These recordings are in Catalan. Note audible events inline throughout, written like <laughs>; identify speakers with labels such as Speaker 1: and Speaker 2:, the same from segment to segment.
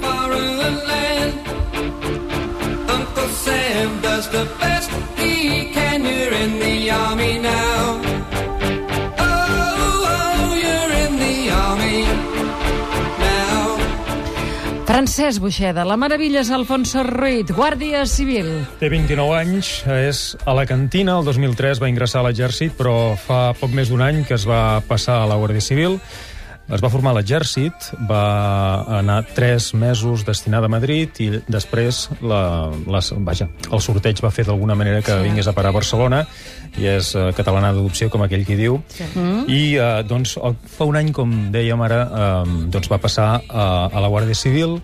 Speaker 1: foreign land. Uncle Sam does the best he can. You're in the army now. Oh, oh, you're in the army now.
Speaker 2: Francesc Buixeda, la meravella és Alfonso Ruiz, Guàrdia Civil.
Speaker 3: Té 29 anys, és a la cantina, el 2003 va ingressar a l'exèrcit, però fa poc més d'un any que es va passar a la Guàrdia Civil. Es va formar a l'exèrcit, va anar 3 mesos destinada a Madrid i després la, la, vaja, el sorteig va fer d'alguna manera que vingués a parar a Barcelona i és eh, catalana d'adopció, com aquell qui diu. I eh, doncs, el- fa un any, com dèiem ara, eh, doncs va passar a, a la Guàrdia Civil,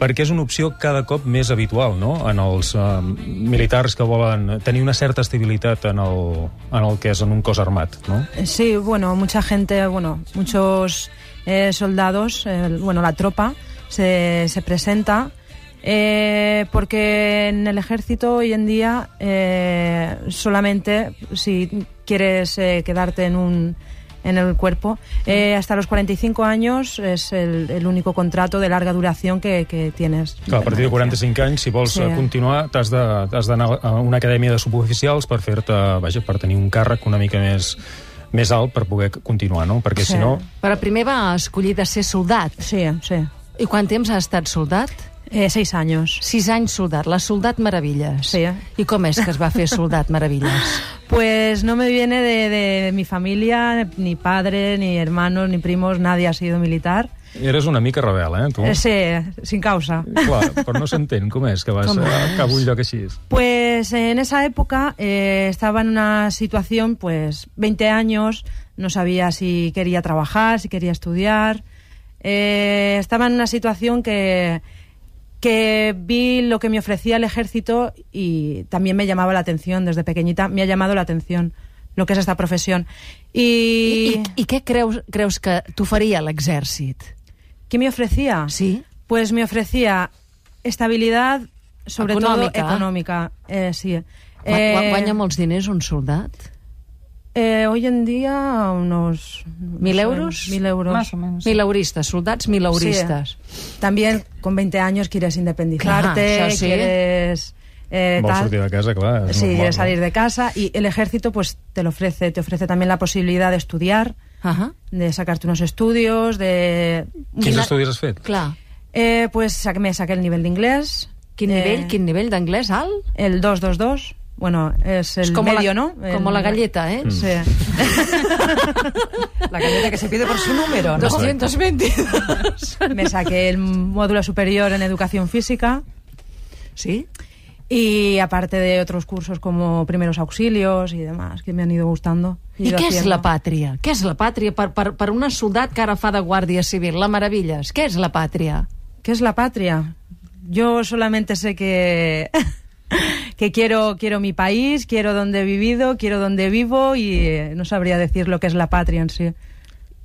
Speaker 3: perquè és una opció cada cop més habitual no? en els eh, militars que volen tenir una certa estabilitat en el, en el que és en un cos armat. No?
Speaker 4: Sí, bueno, mucha gente, bueno, muchos eh, soldados, eh, bueno, la tropa se, se presenta eh, porque en el ejército hoy en día eh, solamente si quieres eh, quedarte en un en el cuerpo. eh, hasta los 45 años es el, el único contrato de larga duración que, que tienes.
Speaker 3: Clar, a partir de 45 anys, si vols
Speaker 4: Sí.
Speaker 3: sí. continuar, t'has de- t'has d'anar a una acadèmia de suboficials per fer-te, vaja, per tenir un càrrec una mica més, més alt per poder continuar, no? Perquè
Speaker 4: Sí.
Speaker 3: si no...
Speaker 2: Però primer va escollir de ser soldat.
Speaker 4: Sí, sí.
Speaker 2: I quant temps ha estat soldat?
Speaker 4: Eh, seis años.
Speaker 2: Sis anys soldat, la soldat Meravilles.
Speaker 4: Sí.
Speaker 2: I com és que es va fer soldat Meravilles?
Speaker 4: Pues no me viene de, de mi familia, ni padre, ni hermanos, ni primos, nadie ha sido militar.
Speaker 3: Eres una mica rebel, eh, tu?
Speaker 4: Ese, sin causa.
Speaker 3: Clar, però no s'entén com és que vas
Speaker 2: Com
Speaker 3: a
Speaker 2: és?
Speaker 3: cap un lloc així.
Speaker 4: Pues en esa época eh, estaba en una situación, pues 20 años, no sabía si quería trabajar, si quería estudiar. Eh, estaba en una situación que, que vi lo que me ofrecía el ejército y también me llamaba la atención desde pequeñita, me ha llamado la atención lo que es esta profesión.
Speaker 2: I,
Speaker 4: Y,
Speaker 2: i què creus, creus que t'oferia l'exèrcit?
Speaker 4: ¿Qué me ofrecía?
Speaker 2: Sí?
Speaker 4: Pues me ofrecía estabilidad, sobre
Speaker 2: Económica.
Speaker 4: todo económica. Eh, sí.
Speaker 2: Gua-
Speaker 4: Eh,
Speaker 2: gua- Guanya molts diners un soldat?
Speaker 4: eh, hoy en día unos...
Speaker 2: ¿Mil
Speaker 4: no sé,
Speaker 2: euros?
Speaker 4: Mil euros.
Speaker 5: Más o menos.
Speaker 2: Sí. eh? Milauristes, soldats milauristes.
Speaker 4: También con 20 años quieres independizarte,
Speaker 2: Claro, eso sí.
Speaker 4: quieres... eh,
Speaker 3: Vols
Speaker 4: tal.
Speaker 3: sortir de casa, clar. és
Speaker 4: Sí,
Speaker 3: normal,
Speaker 4: quieres
Speaker 3: no?
Speaker 4: salir de casa y el ejército pues te lo ofrece, te ofrece también la posibilidad de estudiar,
Speaker 2: Ahà.
Speaker 4: de sacarte unos estudios, de...
Speaker 3: Quins
Speaker 2: Quina-
Speaker 3: estudis has fet?
Speaker 2: Clar.
Speaker 4: Eh, pues sa- me saqué el nivel de inglés.
Speaker 2: Quin
Speaker 4: eh,
Speaker 2: nivell, quin nivell d'anglès alt?
Speaker 4: El 222, bueno, es el
Speaker 2: És com
Speaker 4: medio,
Speaker 2: la,
Speaker 4: ¿no?
Speaker 2: Com
Speaker 4: El-
Speaker 2: la galleta, eh?
Speaker 4: Sí. <laughs>
Speaker 5: La galleta que se pide por su número,
Speaker 2: <laughs>
Speaker 5: ¿no?
Speaker 2: 222.
Speaker 4: <laughs> Me saqué el módulo superior en educación física
Speaker 2: Sí?
Speaker 4: y aparte de otros cursos como primeros auxilios y demás que me han ido gustando. he
Speaker 2: I
Speaker 4: ido
Speaker 2: què és
Speaker 4: haciendo.
Speaker 2: la pàtria? Què és la pàtria per, per, per una soldat que ara fa de guàrdia civil? La Meravilles, què és la pàtria?
Speaker 4: ¿Qué es la patria? Yo solamente sé que <laughs> que quiero quiero mi país, quiero donde he vivido, quiero donde vivo y eh, no sabría decir lo que es la patria en sí.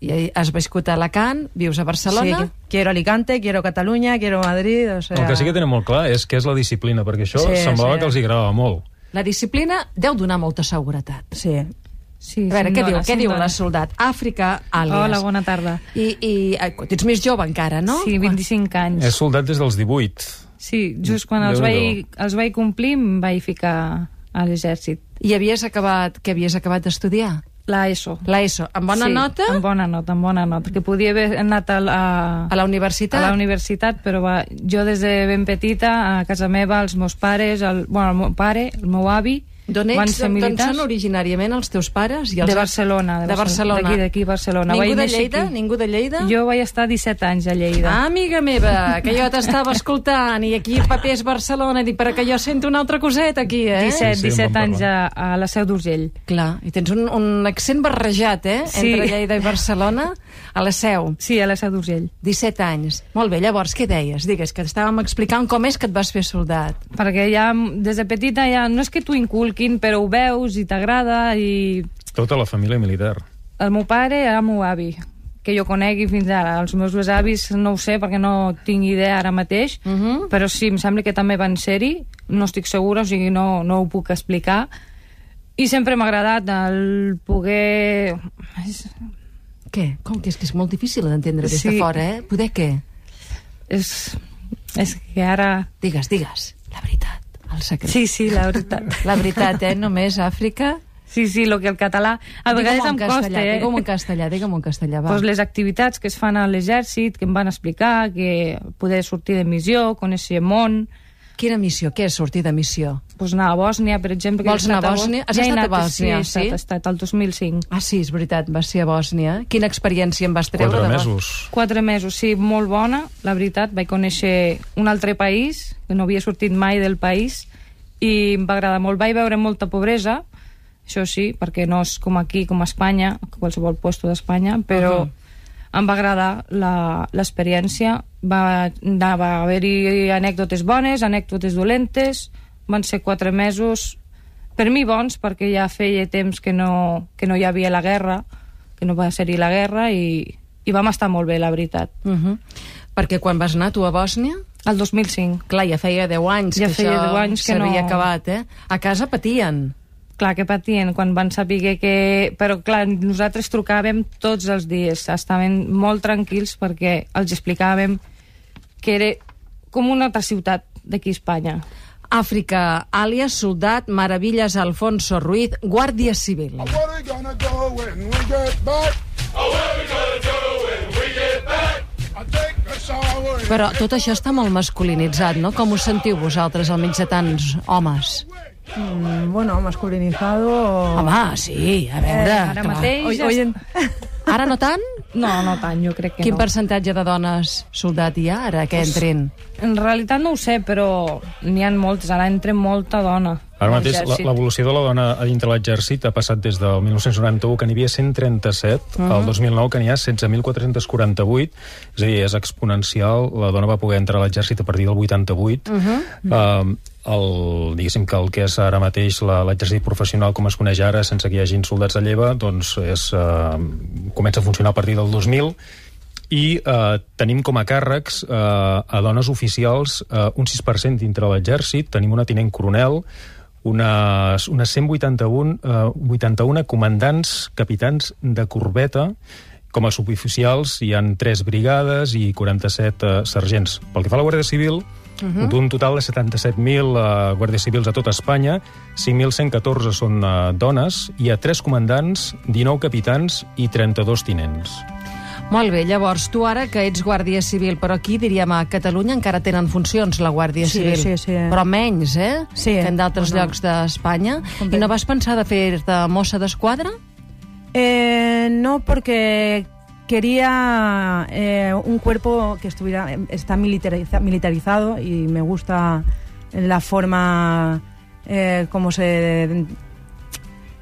Speaker 2: I ahí has viscut a Alacant, vius a Barcelona...
Speaker 4: Sí, quiero Alicante, quiero Cataluña, quiero Madrid, o sea...
Speaker 3: El que sí que tenen molt clar és que és la disciplina, perquè això
Speaker 4: Sí,
Speaker 3: semblava
Speaker 4: sí.
Speaker 3: que els hi agradava molt.
Speaker 2: La disciplina deu donar molta seguretat.
Speaker 4: Sí.
Speaker 5: Sí,
Speaker 2: A veure,
Speaker 5: sin
Speaker 2: què diu,
Speaker 5: dólares,
Speaker 2: què
Speaker 5: sin
Speaker 2: diu la
Speaker 5: dólares.
Speaker 2: soldat? Àfrica, àlies.
Speaker 5: Hola, bona tarda.
Speaker 2: I, i eh, tu ets més jove encara, no?
Speaker 5: Sí, 25
Speaker 4: Mm.
Speaker 5: anys.
Speaker 3: És soldat des dels 18.
Speaker 5: Sí, just quan els
Speaker 3: Déu-n'hi-do.
Speaker 5: vaig, els vaig complir em vaig ficar a l'exèrcit.
Speaker 2: I havies acabat, que havies acabat d'estudiar?
Speaker 5: La ESO.
Speaker 2: L'ESO, amb bona
Speaker 5: sí,
Speaker 2: nota
Speaker 5: Amb bona nota, amb bona nota. Que podia haver anat a, la,
Speaker 2: a la universitat?
Speaker 5: a la universitat, però va, jo des de ben petita, a casa meva, els meus pares, el, bueno, el meu pare, el meu avi,
Speaker 2: D'on
Speaker 5: van
Speaker 2: ets?
Speaker 5: ser
Speaker 2: D'on d'on
Speaker 5: militars.
Speaker 2: són originàriament els teus pares? I els...
Speaker 5: De Barcelona, de
Speaker 2: De Barcelona.
Speaker 5: Barcelona. D'aquí, d'aquí, Barcelona.
Speaker 2: Ningú
Speaker 5: Vaig
Speaker 2: de
Speaker 5: néixer
Speaker 2: Lleida?
Speaker 5: aquí.
Speaker 2: Ningú de Lleida?
Speaker 5: Jo vaig estar 17 anys a Lleida.
Speaker 2: Ah, amiga meva, que jo t'estava escoltant i aquí el paper és Barcelona, i dic, però que jo sento una altra coseta aquí, eh?
Speaker 5: 17,
Speaker 3: Sí, sí, en
Speaker 5: 17
Speaker 3: vam
Speaker 5: anys a, a la Seu d'Urgell.
Speaker 2: Clar, i tens un, un accent barrejat, eh?
Speaker 5: Sí.
Speaker 2: Entre Lleida i Barcelona, a la seu.
Speaker 5: Sí, a la Seu d'Urgell.
Speaker 2: 17 anys. Molt bé, llavors, què deies? Digues, que estàvem explicant com és que et vas fer soldat.
Speaker 5: Perquè ja, mm, des de petita, ja no és que t'ho inculquin, però ho veus i t'agrada i...
Speaker 3: Tota la família militar.
Speaker 5: El meu pare era el meu avi, que jo conegui fins ara. Els meus dos avis no ho sé perquè no tinc idea ara mateix, uh -huh. però sí, em sembla que també van ser-hi. No estic segura, o sigui, no, no ho puc explicar. I sempre m'ha agradat el poder... És,
Speaker 2: Què? Com que és que és molt difícil d'entendre des
Speaker 5: Sí.
Speaker 2: de fora, eh? Poder què?
Speaker 5: és És que ara...
Speaker 2: Digues, digues, la veritat, el secret.
Speaker 5: Sí, sí, la veritat.
Speaker 2: La veritat, eh? Només Àfrica...
Speaker 5: Sí, sí, lo que el català... A vegades
Speaker 2: Digue-m'ho
Speaker 5: em
Speaker 2: en castellà,
Speaker 5: costa, eh?
Speaker 2: Digue-m'ho en castellà, digue-m'ho en castellà, va.
Speaker 5: Pues les activitats que es fan a l'exèrcit, que em van explicar, que poder sortir de missió, conèixer món,
Speaker 2: Quina missió? Què és sortir de missió?
Speaker 5: pues anar a Bòsnia, per exemple. que he
Speaker 2: Vols anar a
Speaker 5: estat
Speaker 2: Bòsnia?
Speaker 5: Bòs-
Speaker 2: Has
Speaker 5: ja he
Speaker 2: estat a
Speaker 5: anat,
Speaker 2: Bòsnia,
Speaker 5: sí?
Speaker 2: sí?
Speaker 5: he estat, he estat, el 2005.
Speaker 2: Ah, sí, és veritat, va ser a Bòsnia. Quina experiència em vas treure?
Speaker 3: Quatre
Speaker 2: de Bòsnia?
Speaker 3: mesos.
Speaker 5: Quatre mesos, sí, molt bona, la veritat. Vaig conèixer un altre país, que no havia sortit mai del país, i em va agradar molt. Vaig veure molta pobresa, això sí, perquè no és com aquí, com a Espanya, qualsevol lloc d'Espanya, però uh -huh. em va agradar la- l'experiència. Va, anar- va haver-hi anècdotes bones, anècdotes dolentes, van ser quatre mesos, per mi bons, perquè ja feia temps que no, que no hi havia la guerra, que no va ser-hi la guerra, i, i vam estar molt bé, la veritat.
Speaker 2: Uh -huh. Perquè quan vas anar tu a Bòsnia...
Speaker 5: El 2005.
Speaker 2: Clar, ja feia 10 anys
Speaker 5: Ja
Speaker 2: que
Speaker 5: feia
Speaker 2: això
Speaker 5: 10 anys que
Speaker 2: s'havia
Speaker 5: no-
Speaker 2: acabat, eh? A casa patien.
Speaker 5: Clar, que patien quan van saber que... Però, clar, nosaltres trucàvem tots els dies. Estàvem molt tranquils perquè els explicàvem que era com una altra ciutat d'aquí a Espanya.
Speaker 2: Àfrica, àlies, soldat, meravilles, Alfonso Ruiz, guàrdia civil.
Speaker 6: What are we gonna do when we get back? Oh, what are we gonna do when we get back? I take a shower. and-
Speaker 2: Però tot això està molt masculinitzat, no? Com us sentiu vosaltres al mig de tants homes?
Speaker 4: Mm, bueno, masculinizado... o-
Speaker 2: Home, sí, a veure...
Speaker 5: Eh, ara
Speaker 2: clar.
Speaker 5: mateix-
Speaker 4: Hoy- hoy en- <laughs>
Speaker 2: Ara no tant?
Speaker 5: No, no tant, jo crec que
Speaker 2: Quin
Speaker 5: no.
Speaker 2: percentatge de dones soldat hi ha ara que entrin?
Speaker 5: En realitat no ho sé, però n'hi ha moltes. Ara entra molta dona.
Speaker 3: Ara mateix, la-
Speaker 5: l'exèrcit.
Speaker 3: l'evolució de la dona a dintre l'exèrcit ha passat des del 1991, que n'hi havia 137, al 2009, que n'hi ha 16.448, és a dir, és exponencial. La dona va poder entrar a l'exèrcit a partir del 88. Eh, el, diguéssim que el que és ara mateix la- l'exèrcit professional, com es coneix ara, sense que hi hagin soldats a lleva, doncs és, eh, comença a funcionar a partir del 2000, i eh, tenim com a càrrecs eh, a dones oficials eh, un 6% dintre l'exèrcit, tenim una tinent coronel, unes, unes 181 eh, 81 comandants, capitans de corbeta, com a suboficials hi han 3 brigades i 47 eh, sergents. Pel que fa a la Guàrdia Civil, d'un total de 77.000 eh, guàrdies civils a tot Espanya, 5.114 són eh, dones, hi ha 3 comandants, 19 capitans i 32 tinents.
Speaker 2: Molt bé, llavors, tu ara que ets guàrdia civil, però aquí, diríem, a Catalunya encara tenen funcions la Guàrdia
Speaker 4: Sí,
Speaker 2: Civil.
Speaker 4: sí, sí.
Speaker 2: Però menys, eh?
Speaker 4: Sí.
Speaker 2: Que en d'altres
Speaker 4: Bueno.
Speaker 2: llocs d'Espanya. I no vas pensar de fer-te mossa d'esquadra?
Speaker 4: Eh, no, porque quería eh, un cuerpo que estuviera está militariza- militarizado y me gusta la forma eh, como se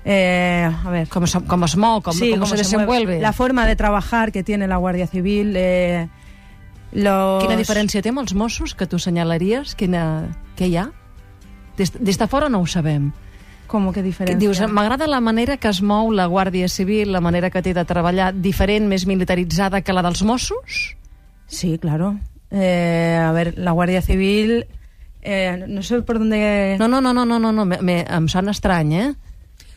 Speaker 4: eh, a ver
Speaker 2: Com, se, com es mou, com,
Speaker 4: Sí,
Speaker 2: com
Speaker 4: cómo
Speaker 2: se,
Speaker 4: mueve.
Speaker 2: desenvuelve.
Speaker 4: la forma de trabajar que tiene la Guardia Civil eh, los-
Speaker 2: Quina diferència té amb els Mossos que tu assenyalaries? Quina... Què hi ha? Des, des de fora no ho sabem.
Speaker 4: ¿Cómo que
Speaker 2: Que
Speaker 4: diferencia?
Speaker 2: Dius, m'agrada la manera que es mou la Guàrdia Civil, la manera que té de treballar, diferent, més militaritzada que la dels Mossos?
Speaker 4: Sí, claro. Eh, a ver, la Guardia Civil. eh, no sé por dónde.
Speaker 2: No, no, no, no, no, no, no me, me, em sona estrany, eh?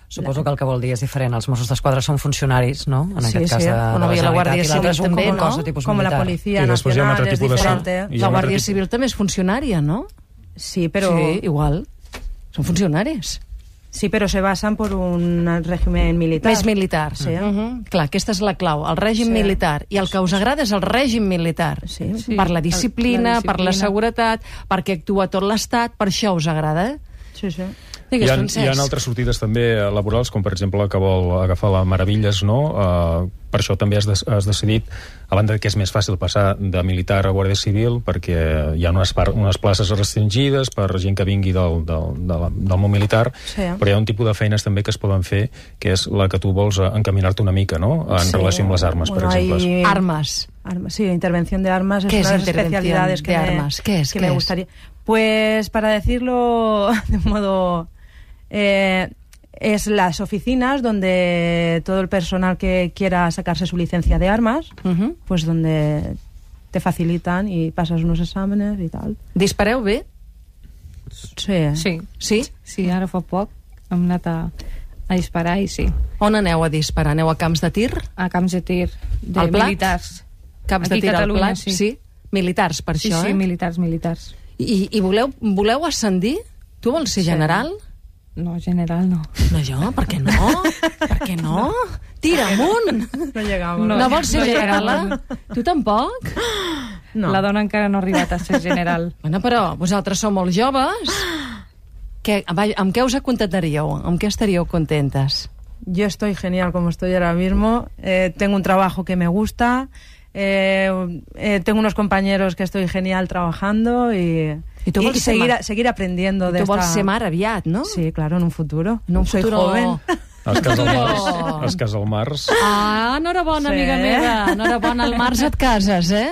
Speaker 7: Suposo que el que vol dir és diferent. Els Mossos d'Esquadra són funcionaris, no? En
Speaker 4: Sí,
Speaker 7: aquest cas
Speaker 4: sí.
Speaker 7: de, de
Speaker 2: Bueno, i la
Speaker 7: Generalitat,
Speaker 2: Guàrdia
Speaker 7: i l'altre és
Speaker 2: Civil
Speaker 7: un
Speaker 2: també,
Speaker 7: com a
Speaker 2: no?
Speaker 7: cosa tipus
Speaker 4: como la
Speaker 7: militar.
Speaker 4: policía
Speaker 3: I després hi ha un
Speaker 4: nacional
Speaker 3: altre
Speaker 4: es
Speaker 3: tipus de sort.
Speaker 4: diferente.
Speaker 3: I hi ha
Speaker 2: La
Speaker 3: un altre
Speaker 2: Guàrdia
Speaker 3: tipus-
Speaker 2: Civil també és funcionària, no?
Speaker 4: Sí, pero
Speaker 2: Sí,
Speaker 4: sí.
Speaker 2: igual. Són funcionaris.
Speaker 4: pero se basan por un régimen militar.
Speaker 2: Més militar, sí. Mm -hmm. Clar, aquesta és la clau, el règim sí. militar. I el que us agrada és el règim militar.
Speaker 4: Sí.
Speaker 5: Sí.
Speaker 2: Per la
Speaker 5: La-
Speaker 2: disciplina,
Speaker 5: la
Speaker 2: per la
Speaker 5: disciplina.
Speaker 2: seguretat, perquè actua tot l'Estat, per això us agrada, eh?
Speaker 4: Sí, sí.
Speaker 2: Digues,
Speaker 3: hi, ha,
Speaker 2: Francesc.
Speaker 3: hi ha altres sortides també eh, laborals, com per exemple la que vol agafar la Meravilles, no? Uh, per això també has, de, has decidit, a banda que és més fàcil passar de militar a guàrdia civil, perquè hi ha unes, par, unes places restringides per gent que vingui del, del, del, del món militar,
Speaker 4: Sí.
Speaker 3: però hi ha un tipus de feines també que es poden fer, que és la que tu vols eh, encaminar-te una mica, no?, en
Speaker 4: Sí.
Speaker 3: relació amb les armes,
Speaker 4: Bueno,
Speaker 3: per
Speaker 4: ahí-
Speaker 3: exemple.
Speaker 2: Armes.
Speaker 4: Armas, sí, intervención de armas es
Speaker 2: ¿Qué
Speaker 4: una
Speaker 2: es
Speaker 4: de las
Speaker 2: intervención
Speaker 4: especialidades que
Speaker 2: de
Speaker 4: me-
Speaker 2: armas? ¿Qué es?
Speaker 4: que
Speaker 2: ¿Qué
Speaker 4: me
Speaker 2: es?
Speaker 4: gustaría. Pues para decirlo <laughs> de un modo eh, es las oficinas donde todo el personal que quiera sacarse su licencia de armas,
Speaker 2: Ujú.
Speaker 4: pues donde te facilitan y pasas unos exámenes y tal.
Speaker 2: Dispareu bé?
Speaker 4: Sí.
Speaker 5: Sí.
Speaker 2: Sí?
Speaker 5: Sí, ara fa poc hem anat a, a disparar i sí.
Speaker 2: On aneu a disparar? Aneu a camps de tir?
Speaker 5: a camps de tir de
Speaker 2: Al Plat?
Speaker 5: militars.
Speaker 2: Camps
Speaker 5: Aquí
Speaker 2: de tir
Speaker 5: a Catalunya,
Speaker 2: al plat?
Speaker 5: sí.
Speaker 2: sí. Militars, per
Speaker 5: Sí,
Speaker 2: això,
Speaker 5: sí,
Speaker 2: eh?
Speaker 5: militars, militars.
Speaker 2: I, i voleu, voleu ascendir? Tu vols ser
Speaker 5: Sí.
Speaker 2: general?
Speaker 5: No, general no.
Speaker 2: No, jo? Per què no? Per què no? Tira amunt!
Speaker 4: No llegàvem.
Speaker 2: No,
Speaker 5: No,
Speaker 2: no vols ser
Speaker 5: no,
Speaker 2: general?
Speaker 5: no.
Speaker 2: Tu tampoc?
Speaker 4: No.
Speaker 5: La dona encara no ha arribat a ser general.
Speaker 2: Bueno, però vosaltres sou molt joves. Que, va, amb què us acontentaríeu? Amb què estaríeu contentes?
Speaker 4: Yo estoy genial como estoy ahora mismo. Eh, tengo un trabajo que me gusta. eh, eh, tengo unos compañeros que estoy genial trabajando y,
Speaker 2: Y tú vols ser
Speaker 4: seguir,
Speaker 2: ma-
Speaker 4: a- seguir aprendiendo de
Speaker 2: Tu vols
Speaker 4: esta-
Speaker 2: ser mare aviat, no?
Speaker 4: Sí, claro, en un futuro.
Speaker 2: En un
Speaker 4: Soy
Speaker 2: futuro-
Speaker 4: joven.
Speaker 3: Es casa al
Speaker 2: No.
Speaker 3: març. Es casa al març.
Speaker 2: Ah, enhorabona,
Speaker 4: Sí.
Speaker 2: sí. amiga meva. Enhorabona, al març et cases, eh?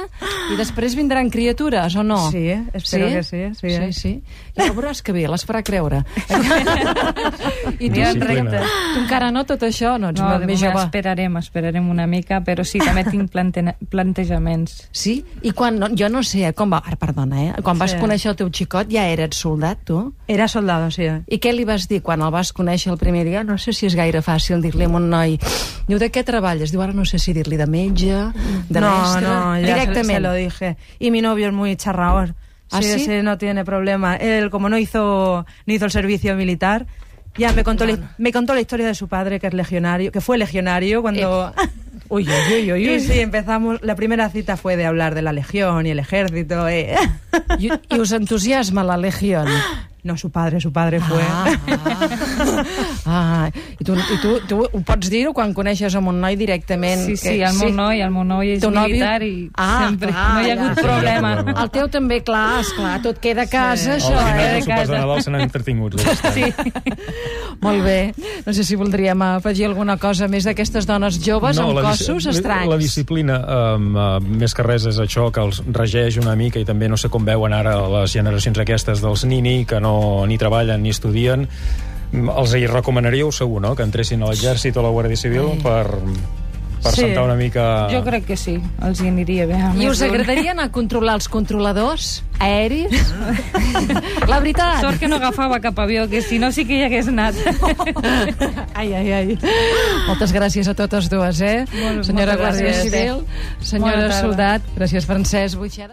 Speaker 2: I després vindran criatures, o
Speaker 4: <laughs>
Speaker 2: no?
Speaker 4: Sí, espero que sí, sí,
Speaker 2: Sí,
Speaker 4: eh?
Speaker 2: sí. Ja veuràs que bé, les farà creure.
Speaker 4: <laughs>
Speaker 2: I tu,
Speaker 5: Mira,
Speaker 3: Disciplina.
Speaker 5: recte.
Speaker 2: tu encara no, tot això, no ets
Speaker 5: No, de
Speaker 2: més
Speaker 5: moment
Speaker 2: jove.
Speaker 5: esperarem, esperarem una mica, però sí, també tinc plante plantejaments.
Speaker 2: Sí? I quan, no, jo no sé, eh, com va, ara, perdona, eh? Quan vas
Speaker 4: Sí.
Speaker 2: conèixer el teu xicot ja eres soldat, tu?
Speaker 4: Era soldado, sí. eh.
Speaker 2: I què li vas dir quan el vas conèixer el primer dia? No sé si és gaire fàcil dir-li a un noi. Diu, de què treballes? Diu, ara no sé si dir-li de metge, de
Speaker 4: no,
Speaker 2: mestre...
Speaker 4: no, ya se-
Speaker 2: Directament.
Speaker 4: se lo dije. Y mi novio es muy charraor.
Speaker 2: ¿Ah, sí?
Speaker 4: ese no tiene problema. Él, como no hizo, no hizo el servicio militar, ya me contó, la, me contó la historia de su padre, que es legionario, que fue legionario cuando... <laughs>
Speaker 2: Ui, ui, ui, ui,
Speaker 4: Y
Speaker 2: ui.
Speaker 4: sí, empezamos. La primera cita fue de hablar de la legión y el ejército. eh. <laughs>
Speaker 2: I, I us entusiasma la Legión.
Speaker 4: No, su padre, su padre fue.
Speaker 2: Ah,
Speaker 4: <laughs>
Speaker 2: ah. ah. I, tu, i tu, tu ho pots dir-ho quan coneixes amb un noi directament?
Speaker 5: Sí, sí, el meu noi, el meu noi és
Speaker 2: Teu nòvio?
Speaker 5: militar i
Speaker 2: Ah,
Speaker 5: sempre
Speaker 2: clar,
Speaker 5: no hi ha hagut
Speaker 2: ja.
Speaker 5: problema.
Speaker 3: Sí, ja.
Speaker 2: El teu també, clar, esclar, tot queda a casa,
Speaker 3: Els
Speaker 2: això,
Speaker 3: dinars
Speaker 2: eh?
Speaker 3: dels sopars de
Speaker 5: casa.
Speaker 3: Nadal s'han entretingut. bastant.
Speaker 2: <laughs>
Speaker 5: Sí.
Speaker 2: Molt bé. No sé si voldríem afegir alguna cosa més d'aquestes dones joves amb
Speaker 3: la dis-
Speaker 2: cossos
Speaker 3: la-
Speaker 2: estranys.
Speaker 3: La disciplina, um, uh, més que res, és això que els regeix una mica i també no sé com veuen ara les generacions aquestes dels nini, que no ni treballen ni estudien. Mm, Els hi recomanaríeu, segur, no?, que entressin a l'exèrcit o a la Guàrdia Civil per, per
Speaker 4: Sí.
Speaker 3: sentar una mica...
Speaker 5: Jo crec que sí, els hi aniria bé. a
Speaker 2: I
Speaker 5: més
Speaker 2: us
Speaker 5: d'un.
Speaker 2: agradaria anar a controlar els controladors aeris?
Speaker 5: <laughs>
Speaker 2: la veritat.
Speaker 5: Sort que no agafava cap avió, que si no sí que hi hagués anat.
Speaker 2: <laughs> Ai, ai, ai. Moltes gràcies a totes dues, eh?
Speaker 5: Molt-
Speaker 2: senyora
Speaker 5: moltes
Speaker 2: Guàrdia
Speaker 5: gràcies.
Speaker 2: Civil,
Speaker 5: Bona
Speaker 2: senyora
Speaker 5: tarda.
Speaker 2: Soldat, gràcies Francesc Buixeda.